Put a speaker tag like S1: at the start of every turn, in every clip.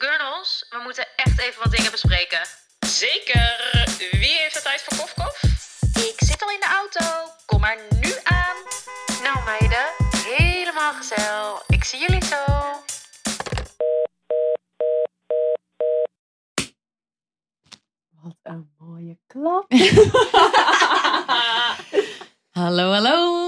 S1: Gurnels, we moeten echt even wat dingen bespreken.
S2: Zeker. Wie heeft de tijd voor kofkof?
S1: Ik zit al in de auto. Kom maar nu aan. Nou meiden, helemaal gezellig. Ik zie jullie zo.
S3: Wat een mooie klap.
S4: Hallo, hallo.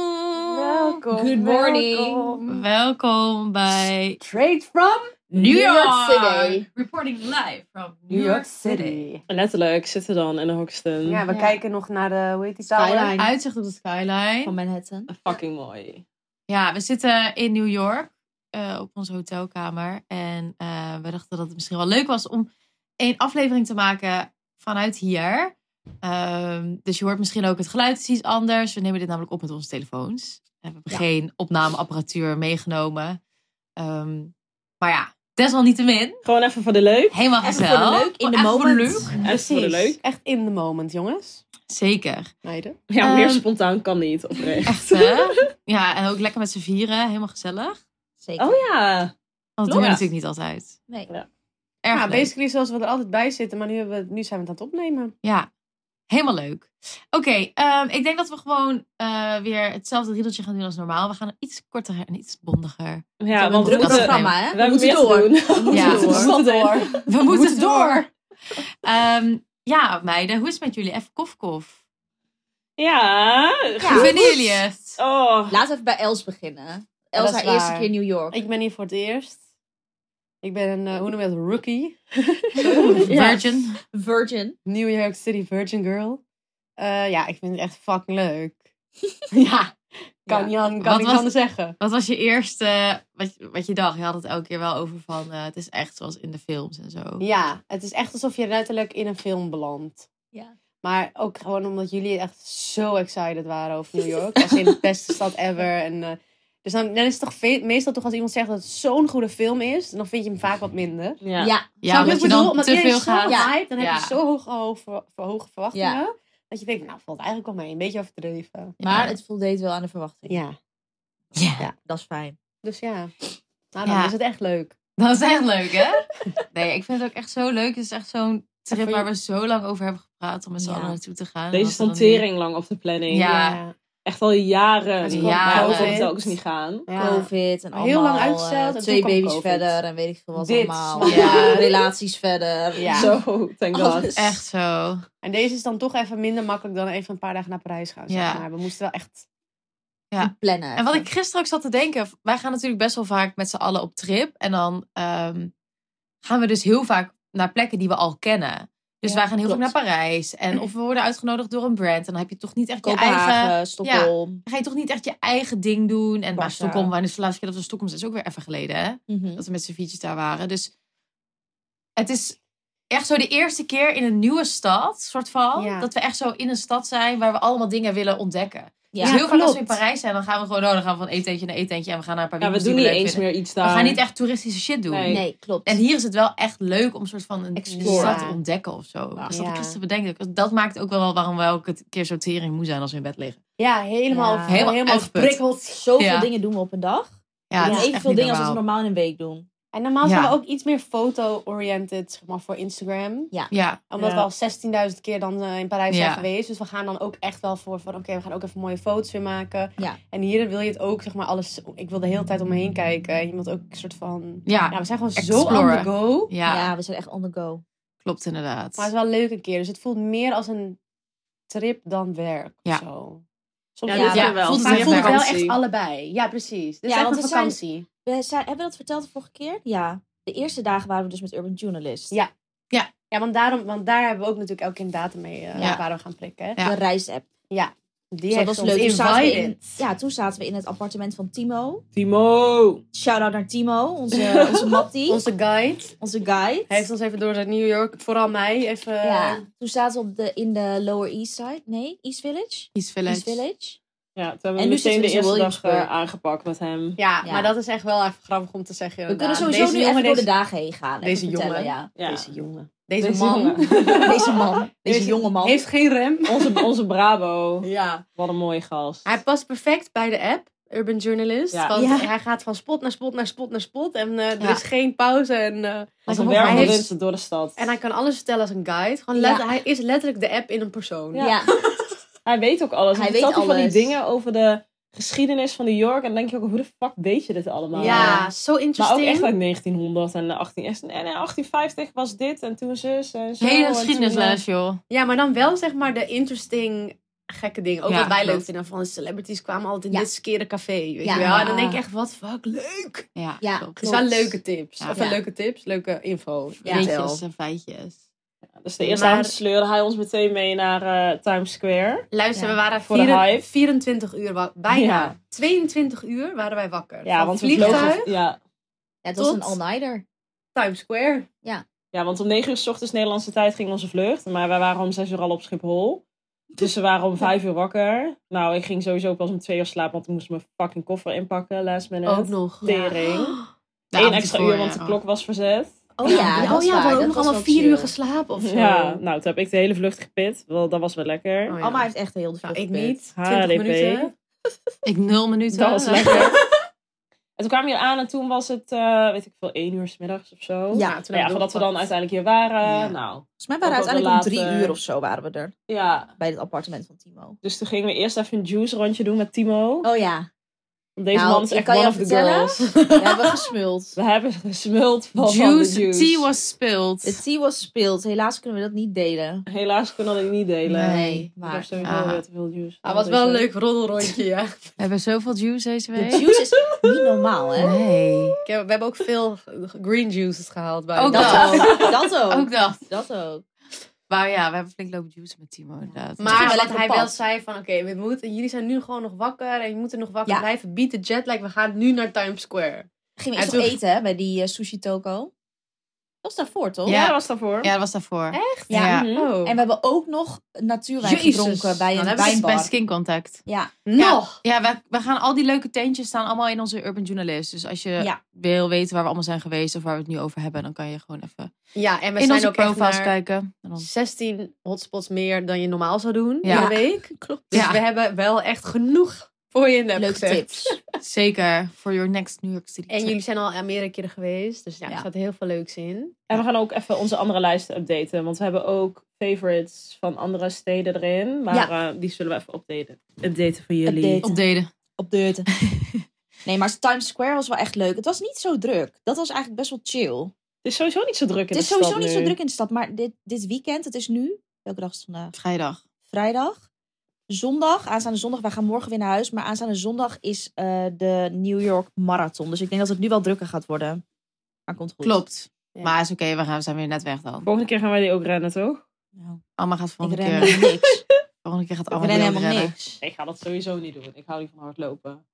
S3: Welkom.
S5: Good morning.
S3: welkom.
S4: Welkom bij
S3: Straight from
S4: New
S5: York
S4: York,
S5: City.
S4: Reporting live from
S3: New York City.
S2: Letterlijk zitten dan in Hoxton.
S3: Ja, we
S5: Ja.
S3: kijken nog naar de, hoe heet die tower?
S5: Skyline.
S4: Uitzicht op de skyline.
S5: van Manhattan.
S2: Fucking mooi.
S4: Ja, we zitten in New York eh, op onze hotelkamer. En eh, we dachten dat het misschien wel leuk was om één aflevering te maken vanuit hier. Ehm, dus je hoort misschien ook het geluid is iets anders. We nemen dit namelijk op met onze telefoons. We hebben
S5: Ja.
S4: geen opnameapparatuur meegenomen. Ehm, maar ja, desalniettemin,
S2: Gewoon even voor de leuk.
S4: helemaal
S5: Even
S4: gezellig.
S5: voor de leuk, in de
S4: Even voor de
S5: moment.
S4: leuk.
S2: Even voor de leuk.
S3: Echt in the moment, jongens.
S4: Zeker.
S3: Meiden.
S2: Ja, meer
S4: Ehm,
S2: spontaan kan niet, oprecht.
S4: Echt, hè? ja, en ook lekker met z'n vieren. Helemaal gezellig.
S5: Zeker.
S2: Oh ja.
S4: Want dat doen we
S2: Ja.
S4: natuurlijk niet altijd.
S5: Nee.
S4: Erg
S3: Ja,
S4: leuk.
S3: basically zoals we er altijd bij zitten, maar nu, hebben we, nu zijn we het aan het opnemen.
S4: Ja, helemaal leuk. Oké, ehm, ik denk dat we gewoon eh, weer hetzelfde riedeltje gaan doen als normaal. We gaan iets korter en iets bondiger.
S2: Ja,
S5: een
S2: want we
S5: druk
S2: moeten,
S4: programma,
S5: hè?
S2: We,
S5: We
S2: hebben
S5: moeten
S2: meer
S5: door.
S2: te doen.
S4: Ja.
S2: We moeten
S3: Door.
S2: door.
S4: We, moeten door. Ehm, ja, meiden, hoe is het met jullie? Even kof kof.
S2: Ja.
S4: hoe
S5: goed.
S4: vinden jullie het?
S2: Oh.
S5: Laten we even bij Els beginnen.
S3: dat
S5: Els
S3: is
S5: haar eerste
S3: waar.
S5: keer New York.
S3: Ik ben hier voor het eerst. Ik ben een, eh, hoe noem je dat, rookie.
S5: Ja.
S4: Virgin.
S5: Virgin.
S3: New York City Virgin Girl. Eh, ja, ik vind het echt fucking leuk. ja, kan
S5: Ja.
S3: niet an- kan
S4: Wat
S3: niet
S4: was-
S3: anders zeggen.
S4: Wat was je eerste, wat, je- wat je dacht? Je had het elke keer wel over van, eh, het is echt zoals in de films en zo.
S3: Ja, het is echt alsof je letterlijk in een film belandt.
S5: Ja.
S3: Maar ook gewoon omdat jullie echt zo excited waren over New York. Als in de beste stad ever. En, eh, dus dan, dan is het toch ve- meestal toch als iemand zegt dat het zo'n goede film is, dan vind je hem vaak wat minder.
S2: Ja.
S5: Ja.
S4: ja
S3: Snap je wat
S4: omdat
S3: ik
S4: je
S3: bedoel?
S4: dan
S3: Omdat
S4: te
S3: iedereen
S4: veel
S3: zo
S4: gaat.
S5: Ja.
S3: hyped, dan heb
S4: Ja.
S3: je zo hoge, hoge, hoge verwachtingen.
S5: Ja.
S3: Dat je denkt, nou valt eigenlijk wel mee. Een beetje overdreven.
S5: Maar het voldeed wel aan de verwachting.
S3: Ja.
S4: Ja.
S5: Dat is fijn.
S3: Dus ja. Nou, dan
S4: Ja.
S3: is het echt leuk.
S4: Dat is echt leuk, hè? Nee, ik vind het ook echt zo leuk. Het is echt zo'n trip
S3: Even-
S4: waar we zo lang over hebben gepraat om met z'n
S5: Ja.
S4: allen naartoe te gaan.
S2: Deze
S4: Dat we dan
S2: stond tering lang op de planning.
S4: Ja.
S2: Echt al jaren.
S3: Het
S4: is
S2: Maar
S4: jaren.
S2: we konden telkens niet gaan.
S3: Ja.
S5: Covid en
S3: Heel
S5: allemaal.
S3: lang uitgesteld en
S5: eh,
S3: toen
S5: twee
S3: kwam
S5: baby's
S3: COVID.
S5: verder en weet ik veel wat
S3: Dit,
S5: allemaal.
S3: snap
S4: je?
S5: Relaties verder.
S3: Ja. Oh
S2: Zo, thank god.
S5: Alles.
S4: nu Echt zo.
S3: En deze is dan toch even minder makkelijk dan even een paar dagen naar Parijs gaan. Zeg
S4: Ja.
S3: maar. We moesten wel echt...
S4: Ja.
S5: Plannen.
S4: En wat ik gisteren ook zat te denken. Wij gaan natuurlijk best wel vaak met z'n allen op trip. En dan ehm, gaan we dus heel vaak naar plekken die we al kennen. Dus
S3: Ja,
S4: wij gaan heel
S5: klopt.
S4: vaak naar Parijs. En of we worden uitgenodigd door een brand. En dan heb je toch niet echt je eigen...
S5: Kopenhagen, Stockholm.
S4: Dan ga je toch niet echt je eigen ding doen. En maar
S3: Barca.
S4: Stockholm, wanneer is de laatste keer dat we Stockholm zijn? Is ook weer even geleden, hè?
S5: Mhm.
S4: dat we met z'n viertjes daar waren. Dus het is echt zo de eerste keer in een nieuwe stad, soort van.
S3: Ja.
S4: Dat we echt zo in een stad zijn waar we allemaal dingen willen ontdekken.
S5: Ja.
S4: dus heel vaak als we in
S3: klopt.
S4: Parijs zijn, dan gaan we gewoon, oh, dan gaan we van eetentje naar eetentje en we gaan naar een paar
S2: Ja, we
S4: winkels
S2: doen
S4: die
S2: niet
S4: leuk
S2: eens
S4: vinden.
S2: meer iets daar.
S4: We gaan niet echt toeristische shit doen.
S2: Nee.
S5: Nee, klopt.
S4: En hier is het wel echt leuk om soort van een een
S5: Explore.
S4: stad te
S3: Ja.
S4: ontdekken of zo.
S2: Ja.
S4: Als dat
S3: Ja.
S4: ik gisteren bedenk, dat maakt ook wel waarom we elke keer zo tering moe zijn als we in bed liggen.
S3: Ja, helemaal,
S5: Ja.
S4: Helemaal
S3: helemaal,
S4: uitgeput.
S3: prikkeld.
S5: Zoveel
S4: Ja.
S5: dingen doen we op een dag.
S4: Ja,
S5: Ja,
S4: het is echt
S5: evenveel
S4: niet
S5: dingen als we
S4: normaal.
S5: normaal in een week doen.
S3: En normaal zijn
S4: Ja.
S3: we ook iets meer foto-oriented zeg maar, voor Instagram.
S4: Ja,
S3: Omdat
S2: Ja.
S3: we al 16.000 keer dan eh, in Parijs
S4: Ja.
S3: zijn geweest. Dus we gaan dan ook echt wel voor van... Oké, we gaan ook even mooie foto's weer maken.
S5: Ja.
S3: En hier wil je het ook, zeg maar, alles... Ik wil de hele tijd om me heen kijken. En Je moet ook een soort van...
S4: ja,
S3: Ja, we zijn gewoon zo on
S4: Exploren.
S3: the go.
S5: Ja,
S4: ja,
S5: we zijn echt on the go.
S4: klopt inderdaad.
S3: Maar het is wel leuk een keer. Dus het voelt meer als een trip dan werk.
S4: Ja.
S3: of Zo. Soms
S2: Ja,
S3: voelt
S2: dit
S3: het,
S4: ja,
S2: wel.
S4: voelt het
S3: maar
S4: heel
S3: voelt het wel
S2: vakantie.
S3: echt allebei. Ja, precies. Dus
S5: Ja,
S3: ja,
S5: want
S3: echt een
S5: we zijn-
S3: vakantie.
S5: We zijn, hebben we dat verteld de vorige keer? Ja. De eerste dagen waren we dus met Urban Journalist.
S3: Ja. Ja, want, daarom, want daar hebben we ook natuurlijk elke keer een datum mee eh,
S4: Ja.
S3: waar we gaan prikken.
S4: Ja.
S5: De reisapp.
S3: Die
S5: Dus dat
S3: heeft
S5: was
S3: ons
S5: leuk. Toen zaten, we in,
S3: invited.
S5: ja, toen zaten we in het appartement van Timo.
S2: Timo.
S5: Shout-out naar Timo, onze, onze mattie,
S3: Onze guide.
S5: onze guide.
S3: Hij heeft eh, ons even door naar New York, vooral mij, even...
S5: ja. Toen zaten we op de, in de Lower East Side. Nee, East Village?
S4: Iets
S5: East Village.
S2: Ja, toen hebben we
S5: En nu
S2: meteen
S5: zitten
S2: de
S5: we dus in
S2: eerste dag
S5: Williamsburg.
S2: eh, aangepakt met hem.
S3: Ja,
S5: Ja.
S3: maar dat is echt wel even grappig om te zeggen.
S5: We kunnen
S3: inderdaad.
S5: sowieso
S3: Deze
S5: nu even
S3: jongen,
S5: door de
S3: deze-
S5: dagen heen gaan. Even
S3: deze
S5: vertellen,
S3: jongen.
S5: Ja.
S2: Ja.
S3: Deze jongen. Deze,
S2: Deze
S3: man.
S2: jongen.
S5: Deze man. Deze
S3: Deze-
S5: jonge man.
S3: Heeft geen rem.
S2: Onze, onze Bravo.
S3: Ja.
S2: Wat een mooie gast.
S3: Hij past perfect bij de app. urban journalist.
S6: Ja.
S3: Want
S5: Ja.
S3: hij gaat van spot naar spot naar spot naar spot. En eh, er
S4: Ja.
S3: is geen pauze. En, eh,
S4: Hij
S6: Als een
S4: heeft-
S6: wervende
S3: heeft-
S6: mensen door de stad.
S3: en hij kan alles vertellen als een guide. Gewoon
S5: Ja.
S3: letter- Hij is letterlijk de app in een persoon.
S6: Ja.
S5: Ja.
S6: Hij weet ook alles.
S5: Hij
S6: Hij
S5: weet
S6: weet van die
S5: alles.
S6: dingen over de geschiedenis van New York. En dan denk je ook, hoe de fuck weet je dit allemaal?
S3: Ja, zo
S6: Maar ook
S3: interesting.
S6: echt uit 1900 en 18, en en 1850 was dit en toen zus en zo.
S4: Hele
S6: en toen, eh,
S4: geschiedenisles, joh.
S3: Ja, maar dan wel zeg maar de interesting gekke dingen. Ook
S4: Ja,
S3: wat wij
S4: klopt.
S3: leuk vinden. Van de celebrities kwamen altijd in
S5: Ja.
S3: dit skere café. Weet
S5: Ja.
S3: je wel? En dan denk ik echt, wat fuck, leuk.
S4: Ja,
S5: Ja,
S3: Het is
S5: klopt.
S3: wel leuke tips.
S4: Ja.
S3: Of wel
S5: Ja.
S3: leuke tips, leuke info.
S5: Ja.
S3: Vertel.
S4: Weetjes en feitjes.
S6: Dus de eerste
S3: Maar-
S6: avond sleurde hij ons meteen mee naar eh, Times Square.
S3: Luister,
S4: Ja.
S3: we waren
S6: Voor de
S3: vier-
S6: hype.
S3: 24 uur, wa- bijna
S6: Ja.
S3: 22 uur waren wij wakker.
S6: Ja,
S3: Van
S6: want we
S3: vliegtuig,
S6: vlogen, ja,
S5: Ja, het was
S3: Tot-
S5: een all-nighter.
S3: Times Square.
S6: ja, want om 9 uur s ochtends Nederlandse tijd ging onze vlucht. Maar wij waren om 6 uur al op Schiphol. Dus we waren om 5 uur wakker. Nou, ik ging sowieso pas om 2 uur slapen, want ik moest mijn fucking koffer inpakken last minute.
S3: Ook Oh, nog.
S6: Tering.
S4: De
S5: Nou,
S6: Eén
S4: avond
S6: extra
S4: ervoor,
S6: uur, want
S4: ja.
S6: de klok was verzet.
S3: Oh
S5: ja, dat
S3: oh,
S5: is
S3: ja we
S5: waar,
S3: hadden
S5: dat
S3: nog
S5: was
S3: allemaal
S5: wel
S3: vier uur
S5: chill.
S3: geslapen of zo.
S6: Ja, nou, toen heb ik de hele vlucht gepit. Wel, dat was wel lekker.
S3: Oh, ja.
S5: Alma heeft echt heel de
S3: Nou,
S5: vlucht
S3: ik
S5: gepit.
S3: niet. 20
S6: HDP.
S3: minuten.
S4: Ik nul minuten.
S6: Dat was lekker. en toen kwamen we hier aan en toen was het, eh, weet ik veel, één uur 's middags of zo.
S5: Ja,
S3: toen
S6: Nou ja,
S3: hebben
S6: voordat we
S3: opgepakt.
S6: dan uiteindelijk hier waren.
S4: Ja.
S6: Nou,
S5: Volgens mij waren we
S6: Ook wel
S5: uiteindelijk
S6: later.
S5: om drie uur of zo waren we er.
S6: ja.
S5: Bij het appartement van Timo.
S6: Dus toen gingen we eerst even een juice rondje doen met Timo.
S5: Oh ja.
S6: Want Deze
S5: Nou,
S6: man is
S5: ik
S6: echt
S5: kan je
S6: one of the
S5: vertellen.
S6: girls.
S5: We hebben gesmuld.
S6: We hebben gesmuld van, van de
S4: Juice,
S6: juice.
S4: tea was spilled.
S5: De tea was spilled. Helaas kunnen we dat niet delen.
S6: Helaas kunnen we dat niet delen.
S4: Nee,
S6: maar... Ik heb
S5: maar...
S6: sowieso
S4: Ah.
S6: weer te veel juice.
S3: Ah, was wel een leuk roddelrondje, ja.
S4: We hebben zoveel juice deze
S5: De
S4: week.
S5: juice is niet normaal, hè?
S4: Nee.
S3: Ik heb- we hebben ook veel green juices gehaald. Bij
S4: Ook
S3: dat.
S5: Dat ook. Dat ook.
S4: Ook dat.
S5: Dat ook.
S4: Maar ja, we hebben flink lopen juice met Timo inderdaad.
S5: ging
S3: Maar
S5: wel
S3: wat
S5: lekker
S3: hij
S5: pad.
S3: wel zei van, oké, we moeten, jullie zijn nu gewoon nog wakker en je moet er nog wakker
S5: Ja.
S3: blijven. Beat de jetlag, we gaan nu naar Times Square.
S5: Gingen we
S3: En
S5: eerst
S3: toen-
S5: nog eten hè, bij die eh, sushi toko. Dat was daarvoor, toch?
S6: Ja,
S4: Ja.
S6: dat was daarvoor.
S4: ja, dat was daarvoor.
S3: Echt?
S5: Ja.
S4: Ja.
S6: Mhm.
S3: Oh.
S5: En we hebben ook nog natuurwijn
S3: Jezus.
S5: gedronken bij
S3: Dan
S5: een
S3: hebben ze
S4: Bij,
S5: wijnbar.
S4: bij Skin dus Contact.
S5: Ja,
S3: nog?
S4: Ja, we, we gaan al die leuke tentjes staan allemaal in onze Urban Journalist. Dus als je
S5: Ja.
S4: wil weten waar we allemaal zijn geweest of waar we het nu over hebben, dan kan je gewoon even
S3: Ja, en we
S4: in
S3: zijn
S4: onze
S3: ook echt
S4: profiles
S3: naar
S4: kijken. En dan-
S3: 16 hotspots meer dan je normaal zou doen
S4: Ja.
S3: in de week.
S5: klopt.
S3: Dus
S4: Ja.
S3: we hebben wel echt genoeg voor je in de app
S5: Leuke
S3: gezet.
S5: tips.
S4: Zeker voor your next New York City.
S3: En
S4: trip.
S3: jullie zijn al meerdere keren geweest, dus ja,
S5: Ja.
S3: er staat heel veel leuks in.
S6: En we gaan ook even onze andere lijsten updaten. Want we hebben ook favorites van andere steden erin. Maar eh, die zullen we even updaten, updaten voor jullie.
S5: Updaten.
S4: opdelen.
S5: Op deurten. Nee, maar Times Square was wel echt leuk. Het was niet zo druk. Dat was eigenlijk best wel chill.
S6: Het is sowieso niet zo druk in
S5: Het
S6: de
S5: is
S6: stad
S5: sowieso niet zo
S6: nu.
S5: druk in de stad. Maar dit, dit weekend, het is nu... Welke dag is het vandaag?
S4: Vrijdag.
S5: Vrijdag. Zondag, aanstaande zondag. Wij gaan morgen weer naar huis. Maar aanstaande zondag is eh, de New York Marathon. Dus ik denk dat het nu wel drukker gaat worden. Maar komt goed.
S4: Klopt.
S3: Ja.
S4: Maar is oké, we, gaan- we zijn weer net weg dan.
S6: Volgende keer gaan wij die ook rennen, toch?
S5: Nou,
S4: Alma gaat
S5: ik
S4: volgende
S5: ren
S4: keer.
S5: helemaal niks.
S4: Volgende keer gaat
S5: Ik
S4: Alma
S5: ren
S4: weer
S5: helemaal
S4: rennen.
S5: niks.
S6: Ik ga dat sowieso niet doen. Ik hou niet van hardlopen.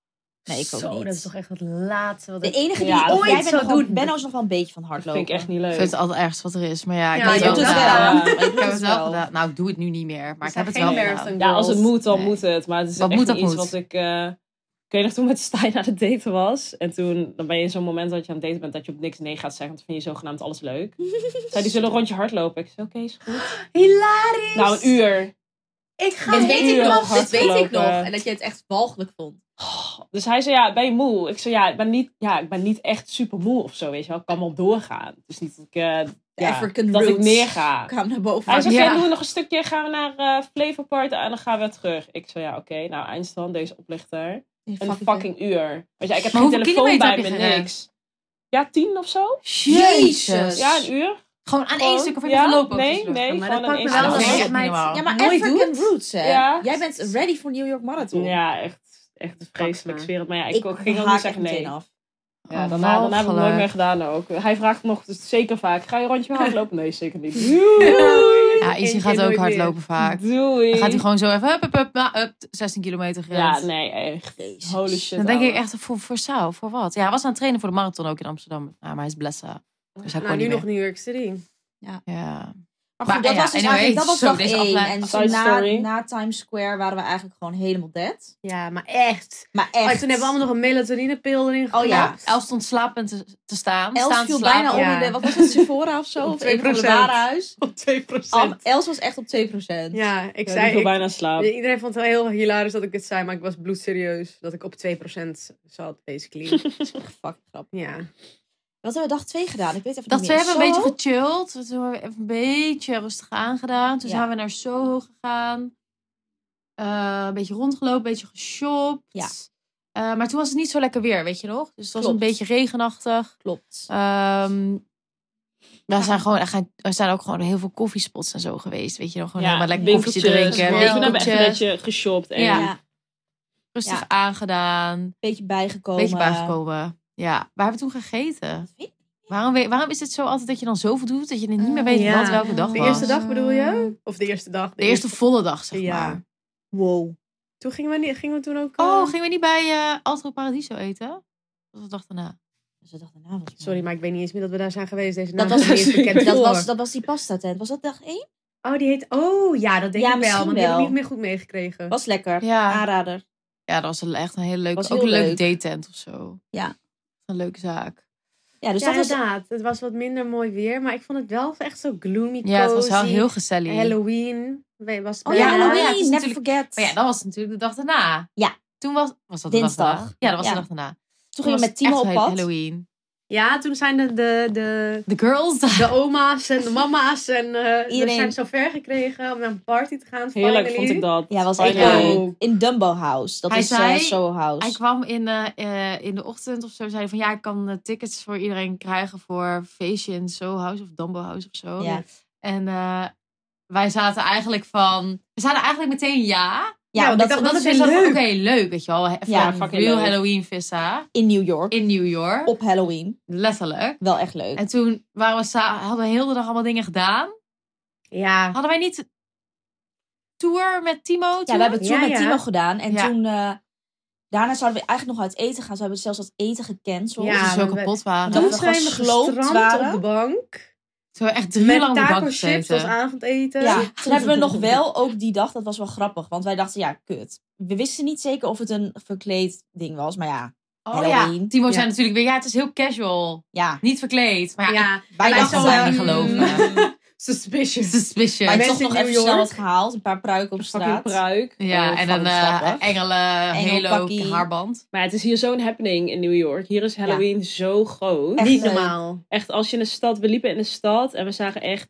S5: Nee, ik ook
S3: Zo,
S5: niet.
S3: dat is toch echt het laatste wat
S5: De
S3: ik-
S5: enige die
S6: Ja,
S5: ik
S6: dat
S5: ooit
S3: vind ik
S5: zou
S3: zo
S5: doen.
S3: doen.
S5: Benno is nog wel een beetje van
S6: Dat
S5: hardlopen.
S6: vind ik echt niet
S4: Ik
S6: leuk.
S4: vind het altijd ergst wat er is. Maar ja, ik
S3: Ja,
S4: heb
S3: je
S4: het
S3: doet
S4: wel
S3: het
S4: gedaan.
S6: wel.
S5: Maar je
S4: Ik
S5: doet
S4: heb
S5: het
S4: het wel gedaan. Nou, ik doe het nu niet meer. Maar
S3: Er
S4: ik heb
S3: zijn
S4: het
S3: geen
S4: wel
S3: marathon
S4: gedaan.
S6: Ja, als het
S3: girls.
S6: moet, dan
S4: Nee.
S6: moet het. Maar het is
S4: Wat
S6: echt
S4: moet,
S6: niet
S4: dat
S6: iets
S4: moet.
S6: wat ik... eh, Ik weet nog toen met Stijn aan het daten was. En toen dan ben je in zo'n moment dat je aan het daten bent... dat je op niks nee gaat zeggen. Want dan vind je zogenaamd alles leuk. Zij die zullen een rondje hardlopen. Ik zei, oké, is goed.
S5: e-
S3: Hilarisch!
S6: Nou, een uur.
S3: Ik ga
S5: Dit weet ik
S6: Heel
S5: nog, dit weet ik nog.
S6: hardgelopen.
S5: En dat je het echt walgelijk vond.
S6: Dus hij zei, ja, ben je moe? Ik zei, ja, ik ben niet, ja, ik ben niet echt super moe of zo, weet je wel. Ik kan wel doorgaan. Het is niet dat ik, eh, ja,
S5: African
S6: dat ik
S5: roots.
S6: neerga.
S5: Ik kwam naar boven.
S6: Hij zei, oké,
S4: Ja.
S6: doen we nog een stukje, gaan we naar eh Flavor Party en dan gaan we weer terug. Ik zei, ja, oké, nou, eindstand, deze oplichter. Een fucking uur. Weet je, ik
S4: Maar
S6: heb geen
S4: hoeveel
S6: telefoon
S4: kilometer
S6: bij
S4: heb je
S6: me,
S4: gerend?
S6: niks. Ja, tien of zo?
S4: Jezus.
S6: Ja, een uur.
S4: Gewoon aan Dus één
S6: Gewoon.
S4: stuk of heb je
S6: Ja,
S4: gelopen?
S6: nee,
S4: Of is het
S6: nee,
S4: lucht?
S3: Maar
S6: gewoon
S3: dat
S6: een
S3: pakt me
S6: instant.
S3: wel als
S4: Ja,
S3: een
S4: dat
S3: meid.
S4: is niet
S5: Ja,
S4: normaal.
S5: maar
S3: Nooit Nou,
S5: African
S3: doet.
S5: roots, hè?
S6: Ja.
S5: Jij bent ready voor New York Marathon.
S6: Ja, echt, echt vreselijk
S3: maar.
S6: smerend. Maar ja, ik, ging ook
S5: haak
S6: niet
S5: echt
S6: zeggen
S5: meteen
S6: nee.
S5: af.
S6: Ja,
S4: Oh,
S6: Ah, daarna, daarna heb ik het nooit
S4: walgelijk.
S6: meer gedaan ook. Hij vraagt nog dus zeker vaak, ga je een rondje hardlopen? Nee, zeker niet.
S4: Ja, Izzy
S3: Eén
S4: gaat
S3: keer
S4: ook
S3: nooit
S4: hardlopen vaak.
S6: Doei.
S4: Dan gaat hij gewoon zo even hup, hup, hup, nou, hup, 16 kilometer
S6: Ja,
S4: gerend.
S6: nee, echt.
S5: Jezus.
S6: Holy shit.
S4: Dan denk ik
S6: ouwe.
S4: echt, voor, voor Sao, voor wat? Ja, hij was aan het trainen voor de marathon ook in Amsterdam. Ja, maar hij is blessa. Dus hij
S3: Nou,
S4: kon
S3: nu
S4: niet
S3: nog New York City.
S4: meer. Ja.
S5: Maar
S4: Maar,
S5: goed, dat
S4: ja,
S5: was dus
S4: anyway,
S5: eigenlijk, dat was
S4: zo,
S5: dag
S4: deze
S5: één.
S4: aflevering-
S5: En zo
S6: Side
S5: na,
S6: story.
S5: na Times Square waren we eigenlijk gewoon helemaal dead.
S3: Ja, maar echt.
S5: Maar
S3: Oh,
S5: echt.
S3: en toen hebben we allemaal nog een melatoninepil erin
S5: Oh ja.
S4: Ja, Els stond slapend te, te staan.
S5: Els
S4: staan te
S5: viel
S4: slapen.
S5: bijna
S3: Ja.
S5: onder de, wat was het, Sephora of zo?
S3: Op
S5: Of een van de
S3: 2%.
S5: warenhuis.
S3: op 2%.
S5: Am- Els was echt op 2%.
S3: ja, ik
S6: Ik
S3: zei...
S6: viel
S3: ik-
S6: bijna in slaap.
S3: iedereen vond het wel heel hilarisch dat ik dit zei, maar ik was bloedserieus. Dat ik op 2% zat, basically.
S5: Fuck, grap.
S3: ja.
S5: Wat hebben we dag 2 gedaan? Ik weet even
S4: Dat
S5: niet
S4: we
S5: meer.
S4: hebben een
S5: Soho?
S4: beetje gechilled. Toen hebben we even een beetje rustig aangedaan. Toen
S5: Ja.
S4: zijn we naar Soho gegaan. Eh, een beetje rondgelopen, een beetje geshopt.
S5: Ja.
S4: Eh, maar toen was het niet zo lekker weer, weet je nog? Dus het was
S5: Klopt.
S4: een beetje regenachtig.
S5: Klopt.
S4: Ehm, we, zijn gewoon, er gaan- er zijn ook gewoon heel veel koffiespots en zo geweest. Weet je nog, gewoon helemaal Oh, lekker koffietje
S6: winkeltjes,
S4: drinken.
S6: gewoon. Toen hebben we echt een
S4: winkeltjes,
S6: beetje geshopt. En
S5: Ja.
S4: Ja.
S5: Een
S4: rustig
S5: Ja. eh,
S4: aangedaan. Een
S5: beetje bijgekomen.
S4: beetje bijgekomen. Ja, waar hebben we toen gegeten?
S5: weet ik
S4: Waarom, we- waarom is het zo altijd dat je dan zoveel doet dat je niet meer
S5: Eh,
S4: weet
S3: ja.
S4: wat welke dag
S3: De
S4: was?
S3: eerste dag bedoel je? Of de eerste dag?
S4: De eerste volle dag, zeg
S3: Ja.
S4: maar.
S5: Wow.
S3: Toen gingen we, niet, gingen we toen ook... eh,
S4: Oh, gingen we niet bij eh Altro Paradiso eten? Dat was de dag daarna.
S5: Dus dat dacht daarna was het
S3: Sorry, maar ik weet niet eens meer dat we daar zijn geweest. Deze
S5: Dat
S3: naam is
S5: was,
S3: niet eens bekend.
S5: dat,
S3: voor.
S5: was, dat was die pasta tent. Was dat dag 1?
S3: Oh, die heet... Oh, ja, dat denk ik
S5: Ja,
S3: wel.
S5: misschien
S3: Want die heb
S5: wel.
S3: ik niet meer goed meegekregen.
S5: Was lekker.
S4: Ja,
S5: Aanrader.
S4: ja dat was een- echt een hele leuke,
S5: Was
S4: ook
S5: heel
S4: een leuke
S5: leuk.
S4: daytent of zo.
S5: Ja.
S4: Een leuke zaak.
S5: Ja, dus
S3: ja,
S5: dat was...
S3: inderdaad. Het was wat minder mooi weer. Maar ik vond het wel echt zo gloomy,
S4: Ja, het was wel
S3: cozy.
S4: heel gezellig.
S3: Halloween. We- Was het
S5: Oh ja,
S3: bijna.
S5: Halloween.
S4: ja, het is
S5: never
S4: natuurlijk-
S5: forget.
S4: Maar ja, dat was natuurlijk de dag daarna.
S5: Ja.
S4: Toen was, was dat de dag
S5: Dinsdag.
S4: daarna? Ja, dat was
S5: Ja.
S4: de dag daarna.
S5: Toen gingen
S4: was
S5: we met Timo
S4: echt
S5: op
S4: ha-
S5: pad.
S4: Halloween.
S3: Ja, toen zijn de, de, de,
S4: The girls. daar.
S3: de oma's en de mama's en eh we
S5: Iedereen.
S3: zijn zo ver gekregen om naar een party te gaan.
S6: Heerlijk
S3: finally.
S6: vond ik dat.
S5: Ja, was
S6: Fijn
S5: echt
S3: Ja.
S5: leuk.
S6: ook.
S5: In Dumbo House. Dat
S4: Oh, Hij
S5: is eh,
S4: zei-
S5: Soho
S4: Hij
S5: House.
S4: kwam in, eh, eh, in de ochtend of zo. Zei hij van ja, ik kan eh, tickets voor iedereen krijgen voor feestje in Soho House of Dumbo House of zo.
S5: Ja.
S4: En eh, wij zaten eigenlijk van. We zaten eigenlijk meteen ja.
S5: Ja,
S3: Ja, want
S5: dat,
S3: ik dacht,
S5: dat
S3: wat
S5: is
S3: is
S4: we
S3: weer
S4: zaten van,
S3: leuk.
S4: dus Oké, leuk, weet je wel. Even
S5: Ja,
S4: een
S6: fucking
S4: real
S6: leuk.
S4: Halloween vissa
S5: in New York.
S4: in New York.
S5: Op Halloween.
S4: Letterlijk.
S5: Wel echt leuk.
S4: En toen waren we sa- hadden we heel de dag allemaal dingen gedaan.
S3: Ja.
S4: Hadden wij niet tour met Timo?
S5: Ja,
S4: toen?
S5: we hebben het toen
S3: Ja,
S5: met
S3: ja.
S5: Timo gedaan. En
S4: Ja.
S5: toen... eh, daarna zouden we eigenlijk nog uit eten gaan. Ze hebben zelfs dat eten gecanceld.
S3: Ja,
S4: Omdat we
S3: we-
S4: zo kapot waren.
S5: Dat
S3: Toen
S5: we
S3: zijn we
S5: gesloopt
S3: gestrand
S5: waren.
S3: op de bank.
S4: Toen hebben we echt drie
S3: met
S4: lang op de
S3: taco
S4: bank
S3: chips
S4: gezeten.
S3: als avondeten.
S5: Ja, toen hebben we nog wel ook die dag, dat was wel grappig. Want wij dachten, ja, kut. We wisten niet zeker of het een verkleed ding was. Maar ja,
S4: Oh
S5: Halloween.
S4: ja, Timo
S3: Ja.
S4: zei natuurlijk weer, ja, het is heel casual.
S5: ja.
S4: Niet verkleed. Maar ja,
S3: Ja,
S5: Wij
S4: wij
S5: dachten,
S4: dachten
S5: wij
S4: bijna geloven.
S3: Suspicious.
S4: Suspicious.
S5: wij
S3: Mensen
S5: toch
S3: in
S5: nog
S3: New
S5: even snel
S3: York.
S5: wat gehaald. Een paar pruiken op
S6: Fucking
S5: straat.
S6: pruik.
S4: Ja,
S5: Oh,
S4: en een
S5: fucking
S4: eh,
S5: grappig.
S4: engelen,
S5: Engelpakkie.
S4: halo, haarband.
S6: Maar het is hier zo'n happening in New York. Hier is Halloween zo groot.
S5: Echt
S3: Niet
S5: leuk.
S3: normaal.
S6: Echt, als je in de stad... We liepen in de stad en we zagen echt